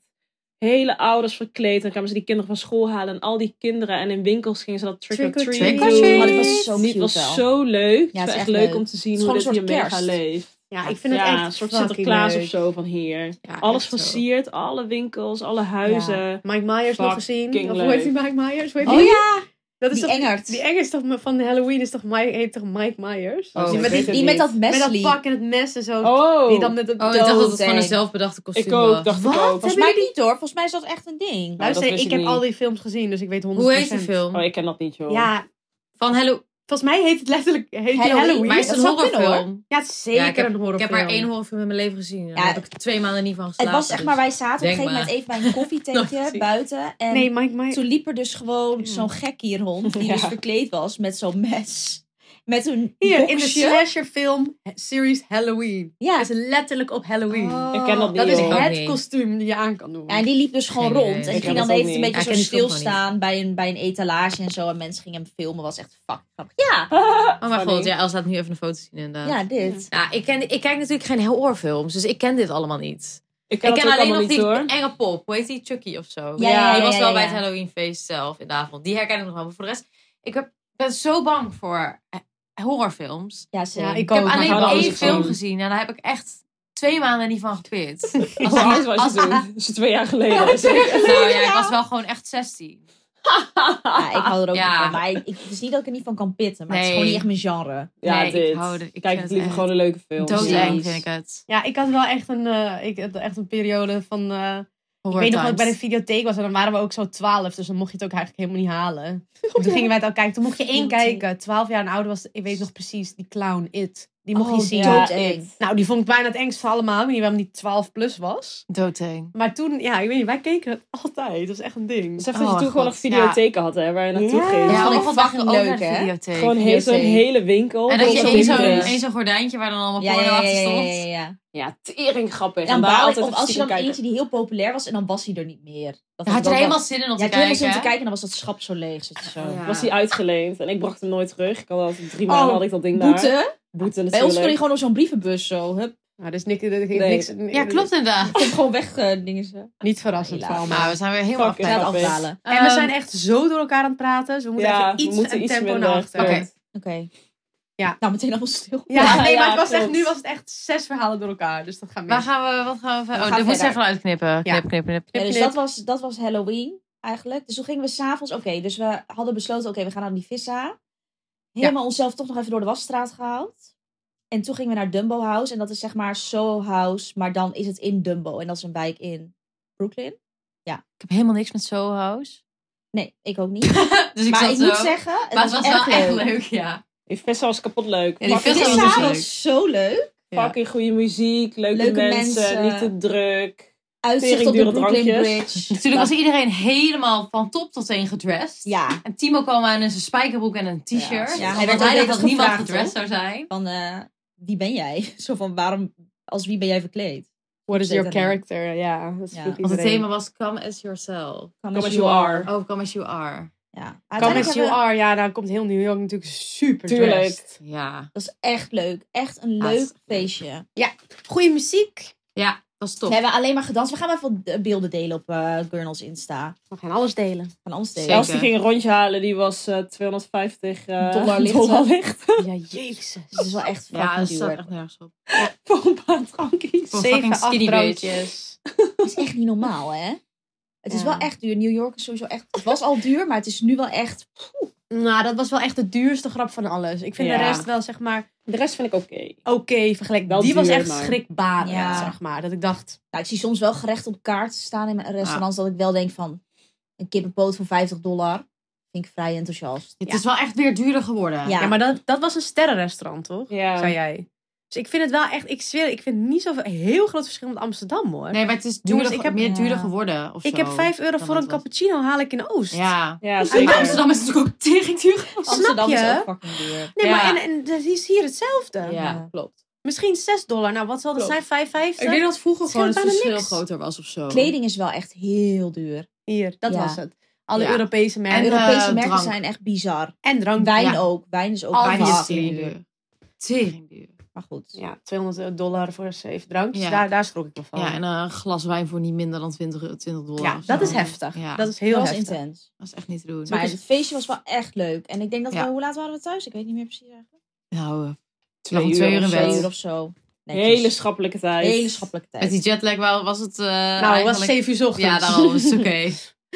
S6: hele ouders verkleed. Dan kwamen ze die kinderen van school halen. En al die kinderen. En in winkels gingen ze dat trick-or-treat
S3: Trick
S4: or
S6: doen.
S4: treat.
S5: Maar dat oh, was zo
S6: Niet
S5: cute
S6: was
S5: wel.
S6: zo leuk. het
S5: is
S6: was echt,
S5: echt
S6: leuk,
S5: leuk.
S6: om te zien
S5: Het is
S6: hoe
S5: gewoon
S6: dit
S5: een
S6: hier
S5: soort
S6: mega
S5: kerst.
S6: leeft.
S3: Ja, ik vind het
S6: ja,
S3: echt
S6: een soort
S3: fucking
S6: Sinterklaas
S3: leuk.
S6: of zo van hier.
S4: Ja,
S6: Alles
S4: echt zo.
S6: versierd, alle winkels, alle huizen.
S3: Mike Myers nog gezien.
S6: Fucking
S3: Of hoe heet die
S6: leuk.
S3: Mike Myers? Hoe heet
S5: Oh
S3: die?
S5: ja,
S3: dat
S5: die
S3: toch,
S5: Engert.
S3: Die Engert is toch me- van Halloween is toch Mike, heet toch Mike Myers?
S4: Oh,
S3: die met,
S6: ik weet
S3: die,
S6: het
S5: die
S6: niet.
S5: met dat mes
S3: met dat
S5: liep.
S3: pak en het mes en zo.
S6: Oh,
S3: Die dan met het
S4: Oh, ik dacht
S3: dood.
S4: dat het gewoon een
S5: Doodeng.
S4: zelfbeldachte kostuum
S6: ik ook,
S4: was.
S6: dacht ik
S3: Wat?
S6: ook.
S5: Volgens mij niet hoor. Volgens mij is dat echt een ding.
S3: Luister,
S6: dat wist
S3: ik,
S6: ik
S3: heb
S6: niet.
S3: al die films gezien, dus ik weet 100%.
S4: Hoe heet die film?
S6: Oh, ik ken dat niet, joh.
S3: Ja,
S4: Van Hello.
S3: volgens mij heet het letterlijk heet die
S5: Halloween.
S3: Halloween.
S4: Maar is het
S5: dat
S4: een
S5: zou kunnen,
S4: horrorfilm?
S3: Ja, het is zeker
S4: Ja,
S3: een horrorfilm.
S4: Ik heb maar één horrorfilm in mijn leven gezien. Daar
S5: Ja.
S4: heb ik twee maanden niet van
S5: Het
S4: geslapen.
S5: was zeg maar, wij zaten op een
S4: Denk
S5: gegeven moment even bij een
S4: Nooit
S5: koffietentje
S4: gezien.
S5: buiten. En
S3: Nee, Mike Myers.
S5: toen liep er dus gewoon zo'n gek hier rond. Die
S6: Ja.
S5: dus verkleed was met zo'n mes. Met een
S3: Hier, in de
S5: boxje.
S3: slasherfilm series Halloween.
S5: Ja.
S3: Is letterlijk op Halloween.
S6: Ik ken dat niet,
S3: Oh, Dat is
S6: joh.
S4: ook
S3: het
S4: niet.
S3: kostuum die je aan kan doen.
S5: Ja, en die liep dus gewoon
S4: Geen idee.
S5: rond.
S4: Ik
S5: En
S4: ken
S5: ging dan
S6: dat ook
S5: even een
S6: niet.
S5: beetje
S4: Ja,
S5: zo
S4: ik ken die film
S5: stilstaan bij een, bij een etalage en zo. En mensen gingen hem filmen. was echt fuck grappig. Ja,
S4: Oh mijn
S6: Funny.
S4: god, ja, Els laat nu even een foto zien inderdaad.
S5: ja, dit.
S4: Ja, ik, ken, ik kijk natuurlijk geen horrorfilms, dus ik ken dit allemaal niet.
S6: Ik ken,
S4: ik
S6: dat
S4: ken
S6: ook
S4: alleen
S6: allemaal
S4: nog
S6: niet,
S4: die
S6: hoor.
S4: enge pop. Hoe heet die? Chucky of zo.
S5: Ja, ja,
S4: die
S5: ja,
S4: was
S5: ja,
S4: wel
S5: ja.
S4: bij het Halloweenfeest zelf in de avond. Die herken ik nog wel. Maar voor de rest, ik heb, ben zo bang voor eh, horrorfilms.
S5: Ja, ze.
S3: Ja,
S4: Ik heb
S3: ook, maar
S4: alleen
S6: hadden
S4: maar
S6: alles
S4: één film
S6: gezien.
S4: gezien en daar heb ik echt twee maanden niet van gepeerd.
S6: Als het oud Oh, was je toen. Dat is twee jaar geleden.
S4: nou ja, ik was wel gewoon echt 16.
S5: Ja, ik hou er ook
S4: Ja.
S5: niet van. Maar ik, ik, het is niet dat ik er niet van kan pitten. Maar het is
S4: Nee.
S5: gewoon niet echt mijn genre.
S6: Ja,
S4: Nee, ik
S6: dit.
S4: hou er- ik vind
S6: kijk het
S4: het
S6: liever
S4: echt
S6: gewoon een leuke film.
S4: Doodeng
S5: Precies.
S4: vind ik het.
S3: Ja, ik had wel echt een, eh, ik had echt een periode van... eh, ik
S4: Horror
S3: weet nog dat ik
S4: times.
S3: bij de videotheek was en dan waren we ook zo 12, Dus dan mocht je het ook eigenlijk helemaal niet Dus halen. Toen gingen wij het al kijken. Toen mocht je één kijken. Twaalf jaar en ouder was, ik weet nog precies, die clown, It. Die mocht je
S5: Oh,
S3: zien.
S5: ja.
S3: Nou, die vond ik bijna het engst van allemaal. Ik weet niet waarom die 12 plus was.
S4: Doodeng.
S3: Maar toen, ja, ik weet niet, wij keken het altijd. Dat was echt een ding.
S6: Besef
S4: Oh,
S6: Dus dat je toen
S4: God.
S6: gewoon nog videotheken had, hè, waar je naartoe
S3: Ja.
S6: ging.
S3: Ja.
S5: vond
S4: ik
S5: ik
S4: vond
S5: fucking
S4: ook
S5: leuk,
S4: naar de
S5: hè?
S4: videotheek.
S6: Gewoon heel- zo'n
S5: videotheek.
S6: hele winkel.
S4: en dat je
S6: vol
S4: één zo'n
S6: computers.
S4: één zo'n gordijntje waar dan allemaal
S5: Ja,
S4: porno
S5: ja, ja,
S4: achter
S5: ja, ja,
S4: stond.
S5: ja, ja.
S6: Ja, tering grappig.
S5: Ja,
S6: en daar
S5: baal ik-
S6: altijd
S5: of als je dan
S6: kijken.
S5: eentje die heel populair was en dan was hij er niet meer. Dat
S4: Daar had je
S5: dat
S4: er helemaal
S5: wel-
S4: zin in om
S5: Ja,
S4: te
S5: ik had
S4: kijken.
S5: helemaal zin om te kijken en dan was dat schap zo leeg. Zit je zo.
S4: Ja.
S6: Was hij uitgeleend en ik bracht hem nooit terug. Ik had al drie
S5: Oh,
S6: maanden had ik dat ding daar.
S5: Boete.
S6: Boete
S5: Bij ons kon je
S6: natuurlijk.
S5: gewoon op zo'n brievenbus zo. Hup,
S3: Nou, dus niks, niks,
S6: Nee.
S3: niks-
S4: Ja, klopt inderdaad.
S5: kom gewoon weg eh, dingen ze.
S3: Niet verrassend
S5: Helaas.
S3: voor allemaal.
S4: Nou, we zijn weer helemaal
S6: Fuck,
S4: afgeleid.
S5: Gaan
S6: grappig.
S5: afdalen.
S3: En we
S4: Ehm,
S3: zijn echt zo door elkaar aan het praten. Dus we moeten
S6: Ja,
S3: even iets
S6: we moeten
S3: een
S6: iets
S3: tempo
S6: minder.
S3: naar achter.
S4: Oké.
S5: Oké.
S3: Ja.
S5: Nou, meteen allemaal stil.
S3: Ja,
S6: Ja,
S3: nee,
S6: ja,
S3: maar het was echt,
S6: klopt.
S3: nu was het echt zes verhalen door elkaar. Dus dat gaan we
S4: Waar gaan we, wat gaan we,
S5: gaan
S4: oh, dit moet
S5: verder.
S4: ze even uitknippen. Knip, knip, knip.
S5: Ja, dus
S3: knip.
S5: dat was, dat was Halloween eigenlijk. Dus toen gingen we s'avonds, oké, dus we hadden besloten, oké, we gaan naar die vissa. Helemaal onszelf toch nog even door de wasstraat gehaald. En toen gingen we naar Dumbo House. En dat is zeg maar Soho House, maar dan is het in Dumbo. En dat is een wijk in Brooklyn.
S4: Ik heb helemaal niks met Soho House.
S5: Nee, ik ook niet.
S4: Dus ik
S5: maar
S4: zat
S5: ik
S4: zo.
S5: moet zeggen, het
S4: maar
S5: was,
S4: het was
S5: echt
S4: wel echt
S5: leuk.
S4: leuk, ja.
S6: Die festival was kapot leuk.
S4: Ja, die
S5: De
S6: Fucking-
S4: festival was
S5: vissa
S4: leuk.
S5: was zo leuk.
S4: Ja.
S6: Fucking goede muziek, leuke,
S5: Leuke
S6: mensen,
S5: mensen.
S6: niet te druk.
S5: Uitzicht op de
S6: Teringdure
S5: Brooklyn
S6: drankjes.
S5: Bridge.
S4: Natuurlijk was iedereen helemaal van top tot teen gedressed.
S5: Ja,
S4: En Timo kwam aan in zijn spijkerbroek en een t-shirt.
S5: Ja,
S4: Want
S5: hij
S4: hij
S5: werd ook
S4: dacht
S5: lelijk
S4: dat niemand
S5: gevraagd,
S4: gedressed
S5: hoor.
S4: zou zijn.
S5: van eh, wie ben jij? Zo van, waarom, als wie ben jij verkleed?
S3: What is your
S5: Zeker.
S3: character? Ja, dat
S5: Ja.
S3: vroeg
S4: Want het
S3: iedereen.
S4: thema was Come As Yourself.
S5: Come,
S6: as you are.
S4: Oh, Come As You Are.
S5: Ja.
S3: Come
S5: Uiteindelijk
S3: as you
S5: hebben-
S3: are. Ja, dan komt heel New York natuurlijk super
S6: Tuurlijk.
S3: dressed.
S4: Ja.
S5: Dat is echt leuk. Echt een
S4: Ah,
S5: leuk
S4: het is-
S5: feestje.
S3: Goeie muziek.
S4: Ja, dat was
S5: We
S4: top.
S5: hebben alleen maar gedanst. We gaan wel even eh, beelden delen op eh Gurnals Insta.
S3: We gaan alles delen.
S5: Van ons delen.
S4: Zeker.
S6: Als die ging een rondje halen, die was eh, 250 eh,
S5: Dollar lichter.
S6: dollar licht.
S3: Ja, jezus.
S5: Dat is wel echt
S4: Ja, dat
S5: fucking duur.
S4: staat echt nergens op.
S6: Voor een paar drankjes.
S4: Voor
S3: Zeven,
S4: fucking
S3: acht
S4: skinny
S3: drankjes.
S5: Dat is echt niet normaal, hè? Het is
S3: Ja.
S5: wel echt duur. New York is sowieso echt... Het was al duur, maar het is nu wel echt...
S3: Nou, dat was wel echt de duurste grap van alles. Ik vind de
S6: Ja.
S3: rest wel, zeg maar,
S6: De rest vind ik oké.
S3: oké vergeleken.
S6: Wel
S3: Die was
S6: duur,
S3: echt
S6: maar-
S3: schrikbarend,
S5: Ja.
S3: zeg maar. Dat ik dacht,
S5: Nou, ik zie soms wel gerecht op kaart staan in mijn restaurants. Dat ik wel denk van... Een kippenpoot van 50 dollar. Vind ik vrij enthousiast.
S4: Het is wel echt weer duurder geworden.
S5: Ja.
S3: ja, maar dat, dat was een sterrenrestaurant, toch?
S6: Ja.
S3: Zei jij. Dus ik vind het wel echt, ik zweer, ik vind het niet zoveel, heel groot verschil met Amsterdam, hoor.
S4: Nee, maar het is
S3: Jongens,
S4: duurder,
S3: Dus ik heb-
S4: meer
S5: Ja.
S4: duurder geworden. Of
S3: ik
S4: zo.
S3: heb 5 euro
S4: dan
S3: voor
S4: het
S3: een
S4: was.
S3: cappuccino, haal ik in Oost.
S4: Ja.
S6: Ja,
S4: In
S6: zeker.
S4: Amsterdam is het natuurlijk ook tering duur.
S5: Amsterdam
S3: je?
S5: is ook fucking duur.
S3: Nee,
S4: Ja.
S3: maar en, en dat is hier hetzelfde.
S4: Ja.
S3: klopt. Misschien 6 dollar. Nou, wat zal dat
S4: Klopt.
S3: zijn? 5,50?
S4: Ik weet dat vroeger
S3: Het
S4: gewoon
S3: scheelt
S4: het
S3: bijna
S4: verschil
S3: niks.
S4: groter was of zo.
S5: Kleding is wel echt heel duur.
S3: Hier, dat
S5: Ja.
S3: was het. Alle
S4: Ja.
S3: Europese merken.
S4: En,
S5: En
S3: En,
S4: eh,
S5: Europese merken
S4: drank.
S5: zijn echt bizar.
S3: drank.
S5: Wijn
S4: Ja.
S5: ook. Wijn is ook
S3: Al
S4: Bijna
S3: die
S4: is
S5: fucking
S4: tering
S5: duur.
S4: duur. Tering Oh, duur.
S5: Maar goed.
S3: Ja, 200 dollar voor een safe drank. Dus
S4: Ja.
S3: daar, daar schrok ik me van.
S4: Ja, en een glas wijn voor niet minder dan 20, 20 dollar.
S3: Ja,
S4: of
S3: dat
S4: zo.
S3: is heftig.
S4: Ja,
S3: Dat
S4: dat
S3: is
S5: Heel
S3: heel
S5: was
S3: heftig.
S5: intens.
S4: is echt niet te doen.
S5: Maar het feestje was wel echt leuk. En ik denk dat
S4: Ja.
S5: we, hoe laat waren we thuis? Ik weet niet meer precies eigenlijk.
S4: Nou, eh,
S6: Twee
S4: nog om twee uur
S6: uur
S4: in
S6: of zo.
S5: Twee
S4: bed.
S5: uur of zo. Netjes.
S6: Hele schappelijke tijd.
S5: Hele schappelijke tijd.
S4: met die jetlag wel, was het eh
S3: nou, het
S4: eigenlijk...
S3: was 7 uur 's ochtends.
S4: Ja, daarom is het oké.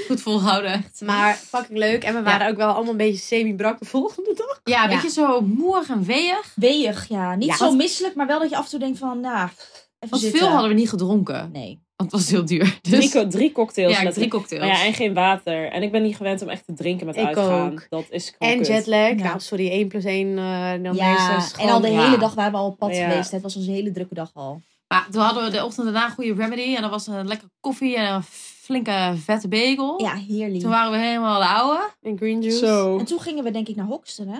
S4: Goed volhouden, echt.
S3: Maar fucking leuk. En we waren ook wel allemaal een beetje semi-brak de volgende dag.
S4: Ja, een
S5: Ja.
S4: beetje zo moeig en weeg.
S5: Weeg, ja. Niet
S3: Ja.
S5: zo misselijk, maar wel dat je af en toe denkt van, nou, even
S4: Want
S5: zitten.
S4: veel hadden we niet gedronken.
S5: Nee.
S4: Want het was heel duur. Dus,
S6: Drie, co- drie cocktails
S4: ja, drie
S6: letterlijk.
S4: cocktails.
S6: Maar ja, en geen water. En ik ben niet gewend om echt te drinken met
S3: Ik
S6: uitgaan.
S3: ook.
S6: Dat is gewoon
S3: En
S6: kut.
S3: jetlag.
S5: Ja.
S3: Nou, sorry, 1 plus 1. eh dan
S5: ja,
S3: meestal is het
S5: en al de
S3: gewoon-
S4: ja.
S5: hele dag waren we al op pad
S6: Ja.
S5: geweest. Het was onze hele drukke dag al.
S4: Maar toen hadden we de ochtend daarna een goede remedy. En dat was een lekkere koffie en een flinke vette bagel.
S5: Ja, heerlijk.
S4: Oh. Toen waren we helemaal de ouwe.
S3: En green juice.
S6: Zo.
S5: En toen gingen we denk ik naar Hoxton, hè?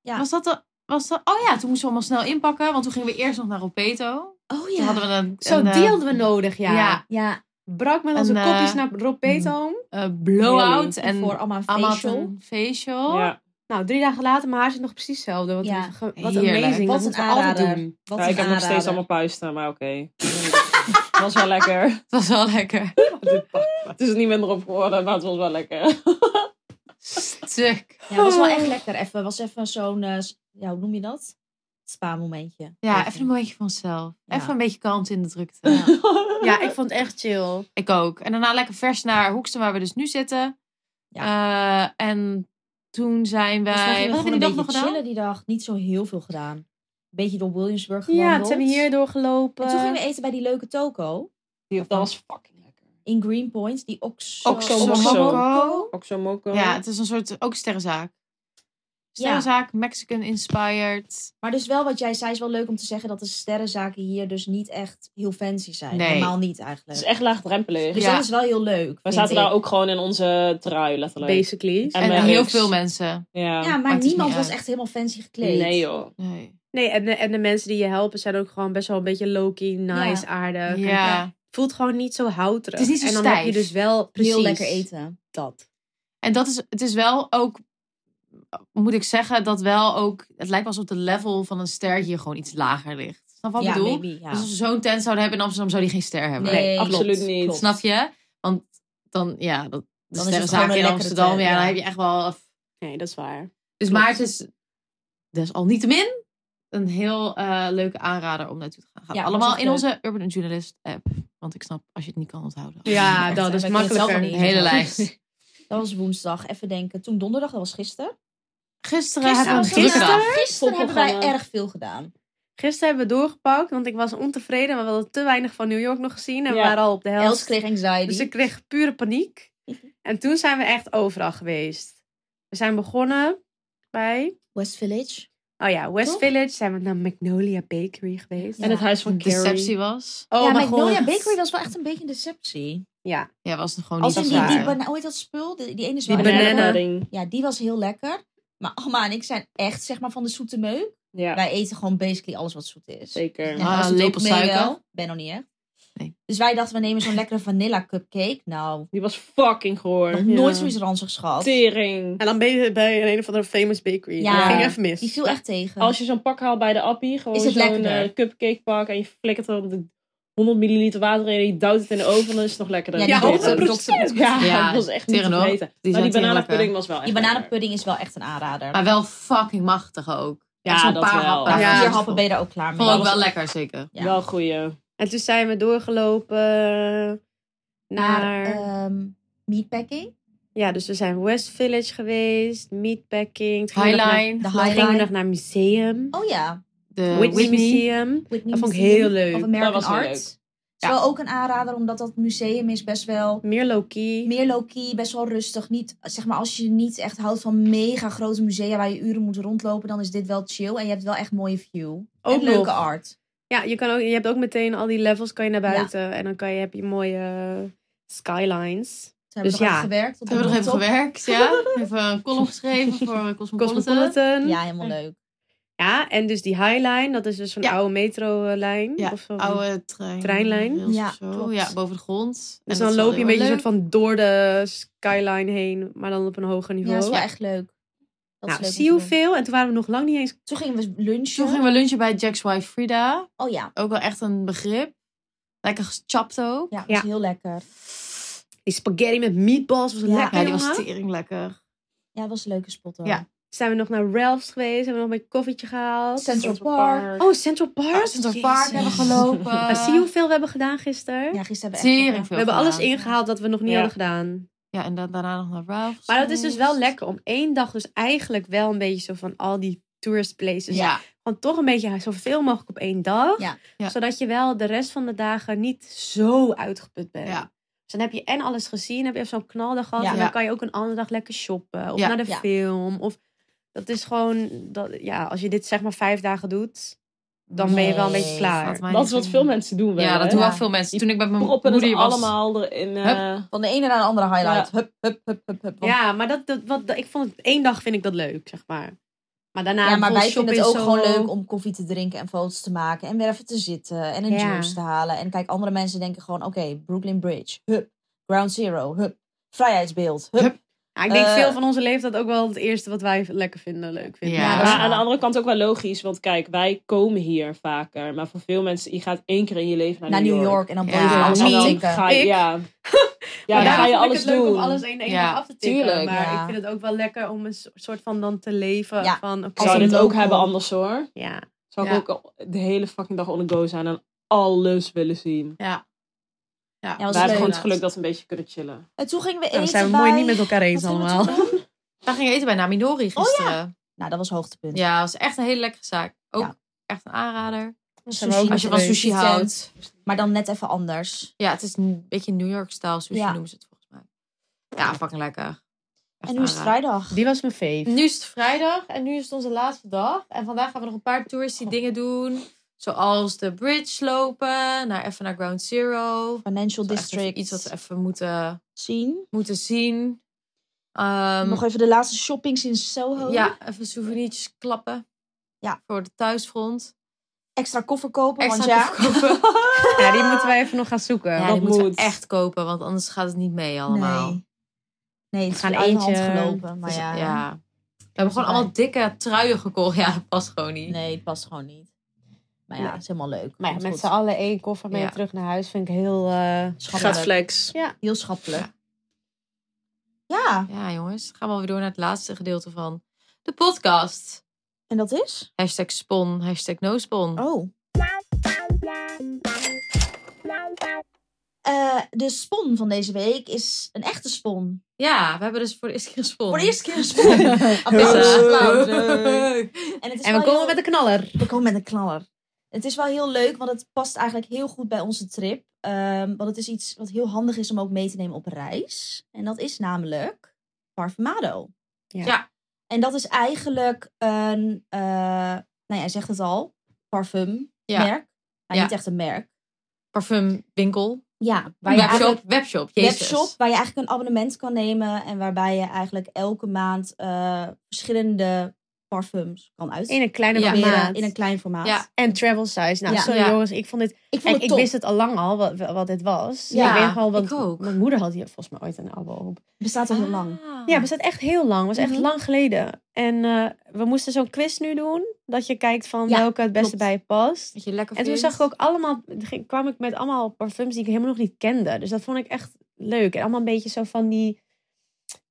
S5: Ja.
S4: Was dat de... Was dat, oh ja, toen moesten we allemaal snel inpakken. Want toen gingen we eerst nog naar Ropeto.
S5: Oh
S4: Toen
S5: ja.
S4: hadden we een,
S3: Zo
S4: een eh,
S3: deelden we nodig, ja.
S4: ja.
S5: Ja,
S3: Brak met onze
S4: Een, eh,
S3: kopjes naar Rob Beethoven.
S4: eh, blow-out.
S5: en voor
S4: En
S5: allemaal een
S4: allemaal
S5: facial.
S4: een facial.
S6: Ja.
S3: Nou, drie dagen later, mijn haar zit nog precies hetzelfde. Wat,
S5: Ja.
S3: een ge- wat
S4: Heerlijk.
S3: amazing. dat
S5: Wat een
S3: moeten we altijd
S5: aanrader.
S3: doen.
S5: Wat
S6: Ja,
S5: een
S6: ik heb nog steeds
S5: aanrader.
S6: allemaal puisten, maar oké. was wel lekker.
S4: Het was wel lekker.
S6: Het is er niet minder op geworden, maar het was wel lekker.
S4: Stuk.
S5: Ja, het was wel echt lekker. Even, was even zo'n, eh, s- ja, hoe noem je dat? Spa-momentje.
S4: Ja, even een momentje van onszelf.
S5: Ja.
S4: Even een beetje kalmte in de drukte.
S5: Ja.
S3: Ja, ik vond het echt chill.
S4: Ik ook. En daarna lekker vers naar Hoeksten, waar we dus nu zitten. Eh, en toen zijn
S5: Dus wij
S4: wij...
S5: gingen
S4: eh, Wat hebben
S5: gewoon een
S4: die dag
S5: beetje
S4: nog gedaan?
S5: chillen die dag. Niet zo heel veel gedaan. Een beetje door Williamsburg
S3: Ja,
S5: gewandeld.
S3: toen zijn we hier eh, doorgelopen.
S5: En toen gingen we eten bij die leuke toko
S6: Dat was fucking lekker.
S5: in Greenpoint. Die Oxo...
S6: Oxo-
S5: Oxo-
S6: Oxo-
S5: Moco.
S6: Ook zo mokko.
S4: Ja, het is een soort, ook sterrenzaak. Sterrenzaak, Mexican inspired.
S5: Maar dus wel wat jij zei, is wel leuk om te zeggen dat de sterrenzaken hier dus niet echt heel fancy zijn.
S4: Nee.
S5: Normaal niet
S6: Het
S5: eigenlijk.
S6: is echt laagdrempelig.
S5: Dus
S4: Ja.
S5: dat is wel heel leuk.
S6: We
S5: vind
S6: zaten daar
S5: ik.
S6: ook gewoon in onze trui, letterlijk.
S3: Basically.
S6: En
S4: En,
S6: met
S4: heel
S6: niks.
S4: veel mensen.
S6: Ja.
S5: Ja, maar
S4: Maakt het
S5: niemand
S4: niet
S5: was
S4: uit.
S5: echt helemaal fancy gekleed.
S6: Nee joh.
S4: Nee.
S3: Nee, en de, en de mensen die je helpen zijn ook gewoon best wel een beetje low-key, nice, aardig. En
S4: Ja.
S3: Het voelt gewoon niet zo houterig.
S4: Het is niet zo
S3: En dan heb je
S4: stijf.
S3: dus wel precies
S5: Heel lekker eten.
S3: dat.
S4: En dat is, het is wel ook, moet ik zeggen, dat wel ook, het lijkt wel alsof de level van een ster hier gewoon iets lager ligt. Snap wat
S5: ja,
S4: ik bedoel?
S5: maybe, ja.
S4: Dus als we zo'n tent zouden hebben in Amsterdam, zou die geen ster hebben.
S6: Nee,
S5: klopt,
S6: absoluut niet.
S5: klopt.
S4: Snap je? Want dan, ja, dat, de
S5: Dan is het gewoon
S4: sterrenzaak
S5: een
S4: in
S5: lekkere
S4: Amsterdam,
S5: tent,
S4: ja,
S5: ja.
S4: dan heb je echt wel...
S3: Nee, dat is waar.
S4: Dus maar het is desalniettemin een heel eh, leuke aanrader om naartoe te gaan. Gaat
S5: Ja, was
S4: allemaal
S5: echt
S4: in
S5: leuk.
S4: onze Urban Journalist app. Want ik snap, als je het niet kan onthouden.
S3: Ja,
S5: Echt,
S3: dat
S5: hè,
S3: is
S5: wij kunnen het zelf
S3: makkelijker.
S5: nog
S4: Een
S5: niet
S4: hele
S5: onthouden.
S4: lijst.
S5: Dat was woensdag. Even denken. Toen donderdag, dat was gisteren.
S4: Gisteren hebben we
S5: was
S4: een
S5: het-
S4: gisteren.
S5: Gisteren
S6: Vol
S5: hebben wij
S6: programma.
S5: erg veel gedaan.
S3: Gisteren hebben we doorgepakt, want ik was ontevreden. Maar we hadden te weinig van New York nog gezien. En we
S6: Ja.
S3: waren al op de
S5: Els
S3: helft.
S5: kreeg anxiety.
S3: Dus ik kreeg pure paniek. En toen zijn we echt overal geweest. We zijn begonnen bij...
S5: West Village.
S3: Oh ja, West
S5: Toch?
S3: Village. Zijn we naar Magnolia Bakery geweest.
S6: En het huis van Carrie.
S4: Deceptie was.
S3: Oh
S5: ja,
S3: mijn
S5: Magnolia
S3: god.
S5: Bakery was wel echt een beetje een deceptie.
S3: Ja,
S4: Ja, was het gewoon
S5: Als in
S4: niet
S3: dat
S5: die,
S3: is
S5: die
S3: waar.
S5: bana- hoe heet dat spul? Die, die ene
S3: Die
S5: zwarte
S3: banana.
S5: banaan. Ja, die was heel lekker. Maar Alma en ik zijn echt zeg maar van de zoete meuk.
S6: Ja,
S5: Wij eten gewoon basically alles wat zoet is.
S6: zeker.
S4: Ja. Ah,
S5: als het ook
S4: lepel
S5: mee
S4: suiker.
S5: wel. Ben nog niet echt.
S4: Nee.
S5: Dus wij dachten, we nemen zo'n lekkere vanilla cupcake. Nou,
S6: Die was fucking
S5: nog
S6: goor.
S5: nooit zoiets ranzigs gehad.
S6: Tering.
S3: En dan ben je bij een, een of andere famous bakery.
S5: Ja.
S3: Dat ging even mis.
S5: Die viel echt tegen.
S6: Als je zo'n pak haalt bij de appie, gewoon
S5: Is het
S6: zo'n
S5: lekkerder?
S6: eh, cupcake pak en je flikkert er de 100 milliliter water in en je duwt het in de oven, dan is het nog lekkerder.
S5: Ja, die
S6: dat
S5: dokter-
S6: is-
S5: dokter-
S6: Ja,
S4: Ja,
S6: dat was echt niet te
S4: tering, hoor.
S6: weten.
S4: Die
S6: Maar
S4: zijn tering
S6: die bananenpudding
S4: lekker.
S6: was wel echt
S5: Die
S6: lekker.
S5: bananenpudding is wel echt een
S3: Ah,
S5: aanrader.
S4: Maar wel fucking machtig ook.
S6: Ja,
S4: Echt zo'n
S6: dat
S4: paar
S6: wel.
S4: happen.
S5: Na
S3: Ja,
S5: vier
S3: dat
S5: Dus happen ben je er ook klaar mee.
S4: Vond ik wel lekker, zeker.
S5: Ja.
S6: Wel goeie.
S3: En toen zijn we doorgelopen
S5: Naar
S3: naar...
S5: ehm, meatpacking.
S3: ja, dus we zijn West Village geweest, meatpacking. Toen gingen we nog naar-
S4: Highline,
S5: De
S3: Toen gingen we nog
S5: highlight.
S3: naar museum.
S5: Oh ja.
S4: de
S3: Whitney
S4: Whitney.
S3: Museum.
S5: Whitney
S3: Dat vond ik
S5: Museum
S3: heel leuk.
S5: Of American
S6: Dat was heel
S5: Art.
S6: leuk.
S5: Is wel ook een aanrader, omdat dat museum is best wel
S3: Meer low-key.
S5: meer low-key, best wel rustig. Niet, zeg maar, als je niet echt houdt van mega grote musea waar je uren moet rondlopen, dan is dit wel chill. En je hebt wel echt mooie view.
S3: Ook
S5: en leuke
S3: nog.
S5: art.
S3: Ja, je, kan ook, je hebt ook meteen al die levels kan je naar buiten. En dan kan je, heb je mooie skylines.
S5: Ze hebben
S3: Dus
S5: nog
S3: ja.
S5: even gewerkt. op
S4: We hebben
S5: de
S4: nog even
S5: laptop.
S4: gewerkt, ja. Even een column geschreven voor Cosmopolitan.
S3: Cosmopolitan. Ja.
S5: Ja, helemaal leuk.
S3: en dus die Highline. Dat is dus zo'n
S4: Ja.
S3: oude metrolijn.
S4: Ja,
S3: of zo.
S4: Oude trein.
S3: Treinlijn.
S4: rails of
S5: Ja,
S4: zo.
S5: klopt.
S4: Ja, boven de grond. En
S3: Dus
S4: dat
S3: dan
S4: is wel
S3: loop je een
S4: heel
S3: beetje
S4: leuk.
S3: soort van door de skyline heen. Maar dan op een hoger
S5: Ja,
S3: niveau.
S5: dat is wel echt leuk. Dat is
S3: nou,
S5: leuk om
S3: zie
S5: te
S3: hoe
S5: doen.
S3: veel. En toen waren we nog lang niet eens...
S5: Toen gingen we lunchen.
S4: Toen gingen we lunchen bij Jack's Wife Frida.
S5: Oh ja,
S4: Ook wel echt een begrip. Lekker gechapt ook.
S5: ja, dat
S3: Ja.
S5: is heel lekker.
S3: Die spaghetti met meatballs was
S5: Ja.
S3: lekker,
S4: Ja, die was
S3: jongen.
S4: tering lekker.
S5: Ja, dat was een leuke spot hoor.
S4: Ja.
S3: Zijn we nog naar Ralph's geweest. Hebben we nog een beetje koffietje gehaald.
S5: Central Park.
S3: Oh, Central Park.
S4: Oh, Central Park
S5: Jezus.
S4: hebben we gelopen.
S3: Maar zie je hoeveel we hebben gedaan gisteren?
S5: Ja, gisteren hebben we echt...
S4: Tering
S5: nog-
S3: We
S4: veel
S3: hebben alles
S4: gedaan.
S3: ingehaald dat we nog niet
S6: Ja.
S3: hadden gedaan.
S4: Ja, en da- daarna nog naar Ralph's.
S3: Maar dat is dus wel
S4: geweest.
S3: lekker om één dag dus eigenlijk wel een beetje zo van al die tourist
S5: Dus
S3: places.
S4: Ja,
S3: Gewoon toch een beetje zoveel mogelijk op één dag.
S5: Ja.
S4: Ja.
S3: Zodat je wel de rest van de dagen niet zo uitgeput bent.
S4: Ja.
S3: Dus dan heb je en alles gezien, heb je even zo'n knaldag gehad.
S5: Ja.
S3: En dan
S4: Ja.
S3: kan je ook een andere dag lekker shoppen. Of
S4: Ja.
S3: naar de
S5: Ja.
S3: film. Of dat is gewoon, dat, ja, als je dit zeg maar vijf dagen doet, dan ben je wel een beetje
S5: Nee,
S3: klaar.
S4: valt mij
S6: Dat
S4: niet
S6: is wat
S4: in.
S6: veel mensen doen wel,
S4: Ja, dat
S6: hè?
S4: doen
S5: Ja.
S4: wel veel mensen.
S6: Die
S4: Toen ik bij mijn
S6: Proppen het
S4: moeder was...
S6: allemaal erin. eh,
S5: Van de ene naar de andere highlight.
S6: Ja.
S5: Hup, hup, hup, hup, hup. Want-
S3: Ja, maar dat, dat, wat, dat- ik vond het één dag vind ik dat leuk, zeg maar. Maar daarna
S5: ja, maar
S3: vol
S5: wij vinden het ook
S3: shoppen in
S5: gewoon
S3: Soho.
S5: leuk om koffie te drinken en foto's te maken. En weer even te zitten en een
S3: Ja.
S5: juice te halen. En kijk, andere mensen denken gewoon, oké, Brooklyn Bridge, hup. Ground Zero, hup. Vrijheidsbeeld, hup.
S4: Hup.
S3: Ja, ik denk
S5: Eh,
S3: veel van onze leeftijd ook wel het eerste wat wij lekker vinden, leuk vinden.
S4: Ja.
S5: dat is
S6: maar aan de
S5: waar.
S6: andere kant ook wel logisch, want kijk, wij komen hier vaker. Maar voor veel mensen, je gaat één keer in je leven naar,
S5: Naar New York Oh, en dan
S4: Ja,
S5: ben je van
S4: en
S5: alles
S6: En
S5: aan
S6: dan
S5: het
S3: niet.
S5: tikken.
S6: ga je,
S3: Ik? Oh,
S6: ja. Ja,
S3: Maar
S6: dan ga
S3: daarom
S6: je
S3: vond ik
S6: alles
S3: het leuk
S6: doen.
S3: om alles één één
S4: Ja,
S3: dag af te tikken.
S6: tuurlijk.
S3: maar
S5: Ja.
S3: ik vind het ook wel lekker om een so- soort van dan te leven.
S5: Ja.
S3: Van,
S6: Ik
S3: oké,
S5: Als
S6: zou
S5: een
S6: dit ook
S5: local.
S6: hebben anders hoor.
S3: ja.
S6: Zou
S4: Ja.
S6: ik ook de hele fucking dag on the go zijn en alles willen zien.
S4: Ja. Ja,
S5: was
S6: We hebben
S5: leuk.
S6: gewoon het geluk dat we een beetje kunnen chillen.
S5: En toen gingen we eten
S3: Dan zijn we
S5: bij...
S3: mooi niet met elkaar eens
S5: Wat gingen we
S3: allemaal.
S5: toen doen?
S4: Wij gingen eten bij Naminori
S3: Oh
S4: gisteren.
S5: Nou, dat was hoogtepunt.
S4: Ja, was echt een hele lekkere zaak. Ook
S5: Ja.
S4: echt een aanrader.
S5: Sushi
S3: ook
S5: met
S4: Als je van
S5: een
S4: sushi
S5: tent,
S4: houdt.
S5: Maar dan net even anders.
S4: Ja, het is een beetje New York-style sushi
S5: Ja.
S4: noemen ze het volgens mij. Ja, fucking lekker.
S5: En nu is het vrijdag.
S3: Die was mijn fave.
S4: Nu is het vrijdag en nu is het onze laatste dag. En vandaag gaan we nog een paar tours die dingen doen. Zoals de bridge lopen, naar, even naar Ground Zero.
S5: Financial
S4: Dat is even
S5: District.
S4: Iets wat we even moeten,
S5: zien.
S4: moeten zien. Ehm,
S5: Nog even de laatste shoppings in Soho.
S4: ja, even souvenirtjes klappen.
S5: Ja.
S4: Voor de thuisfront.
S5: Extra koffer kopen,
S4: Extra
S5: want ja.
S4: koffie kopen.
S3: Ja, die moeten wij even nog gaan zoeken.
S4: Ja,
S6: dat
S4: die moeten we
S6: moet.
S4: echt kopen, want anders gaat het niet mee allemaal.
S5: Nee. Nee, het is
S3: We gaan
S5: weer uit de hand
S3: eentje-
S5: gelopen. Maar
S4: Dus,
S5: ja,
S4: ja. We hebben gewoon allemaal dikke truien gekocht. Ja, dat past gewoon niet.
S5: nee, het past gewoon niet. Maar ja,
S3: Nee.
S5: het is helemaal leuk.
S3: Maar ja,
S5: Komt
S3: met
S5: goed.
S3: z'n allen één koffer mee
S4: Ja.
S3: terug naar huis vind ik heel... eh,
S5: Schappelijk.
S6: Gaat flex.
S5: Heel schappelijk. Ja,
S4: Ja, jongens. Gaan we alweer door naar het laatste gedeelte van de podcast.
S5: en dat is?
S4: Hashtag spon, hashtag no spon.
S5: Oh. Eh, de spon van deze week is een echte spon.
S4: Ja, we hebben dus voor de eerste keer een spon.
S5: Voor de eerste keer een spon. Applaus.
S4: Applaus.
S5: Applaus. En, het is
S3: En we
S5: wel
S3: komen
S5: heel-
S3: met een knaller.
S5: We komen met een knaller. Het is wel heel leuk, want het past eigenlijk heel goed bij onze trip. Ehm, want het is iets wat heel handig is om ook mee te nemen op reis. En dat is namelijk Parfumado.
S3: Ja.
S4: Ja.
S5: En dat is eigenlijk een, eh, nou ja, hij zegt het al, parfummerk.
S4: Ja.
S5: Nou,
S4: Ja.
S5: niet echt een merk.
S4: Parfumwinkel.
S5: Ja, waar je eigenlijk
S4: Webshop. Webshop. Jezus.
S5: webshop waar je eigenlijk een abonnement kan nemen. En waarbij je eigenlijk elke maand eh, verschillende parfums kan
S3: In
S5: uitproberen.
S3: een kleine
S4: Ja.
S3: formaat.
S5: in een klein formaat.
S4: Ja.
S3: En travel size. Nou,
S5: Ja.
S3: sorry
S4: Ja.
S3: jongens, ik vond dit...
S5: Ik vond
S3: Kijk,
S5: het
S3: ik
S5: top.
S3: wist het al lang al wat, wat dit was.
S5: Ja,
S3: ik weet nog wel,
S4: ik
S3: want
S4: ook.
S3: mijn moeder had hier volgens mij ooit een abo op.
S5: Bestaat al heel lang.
S4: Ah.
S3: Ja, maar het echt heel lang. was echt
S5: Oh. Mhm.
S3: lang geleden. En eh, we moesten zo'n quiz nu doen. Dat je kijkt van
S5: Ja,
S3: welke het beste
S5: klopt.
S3: bij je past.
S4: Dat je lekker
S3: En toen
S4: vindt.
S3: zag ik ook allemaal, ging- kwam ik met allemaal parfums die ik helemaal nog niet kende. Dus dat vond ik echt leuk. En allemaal een beetje zo van die,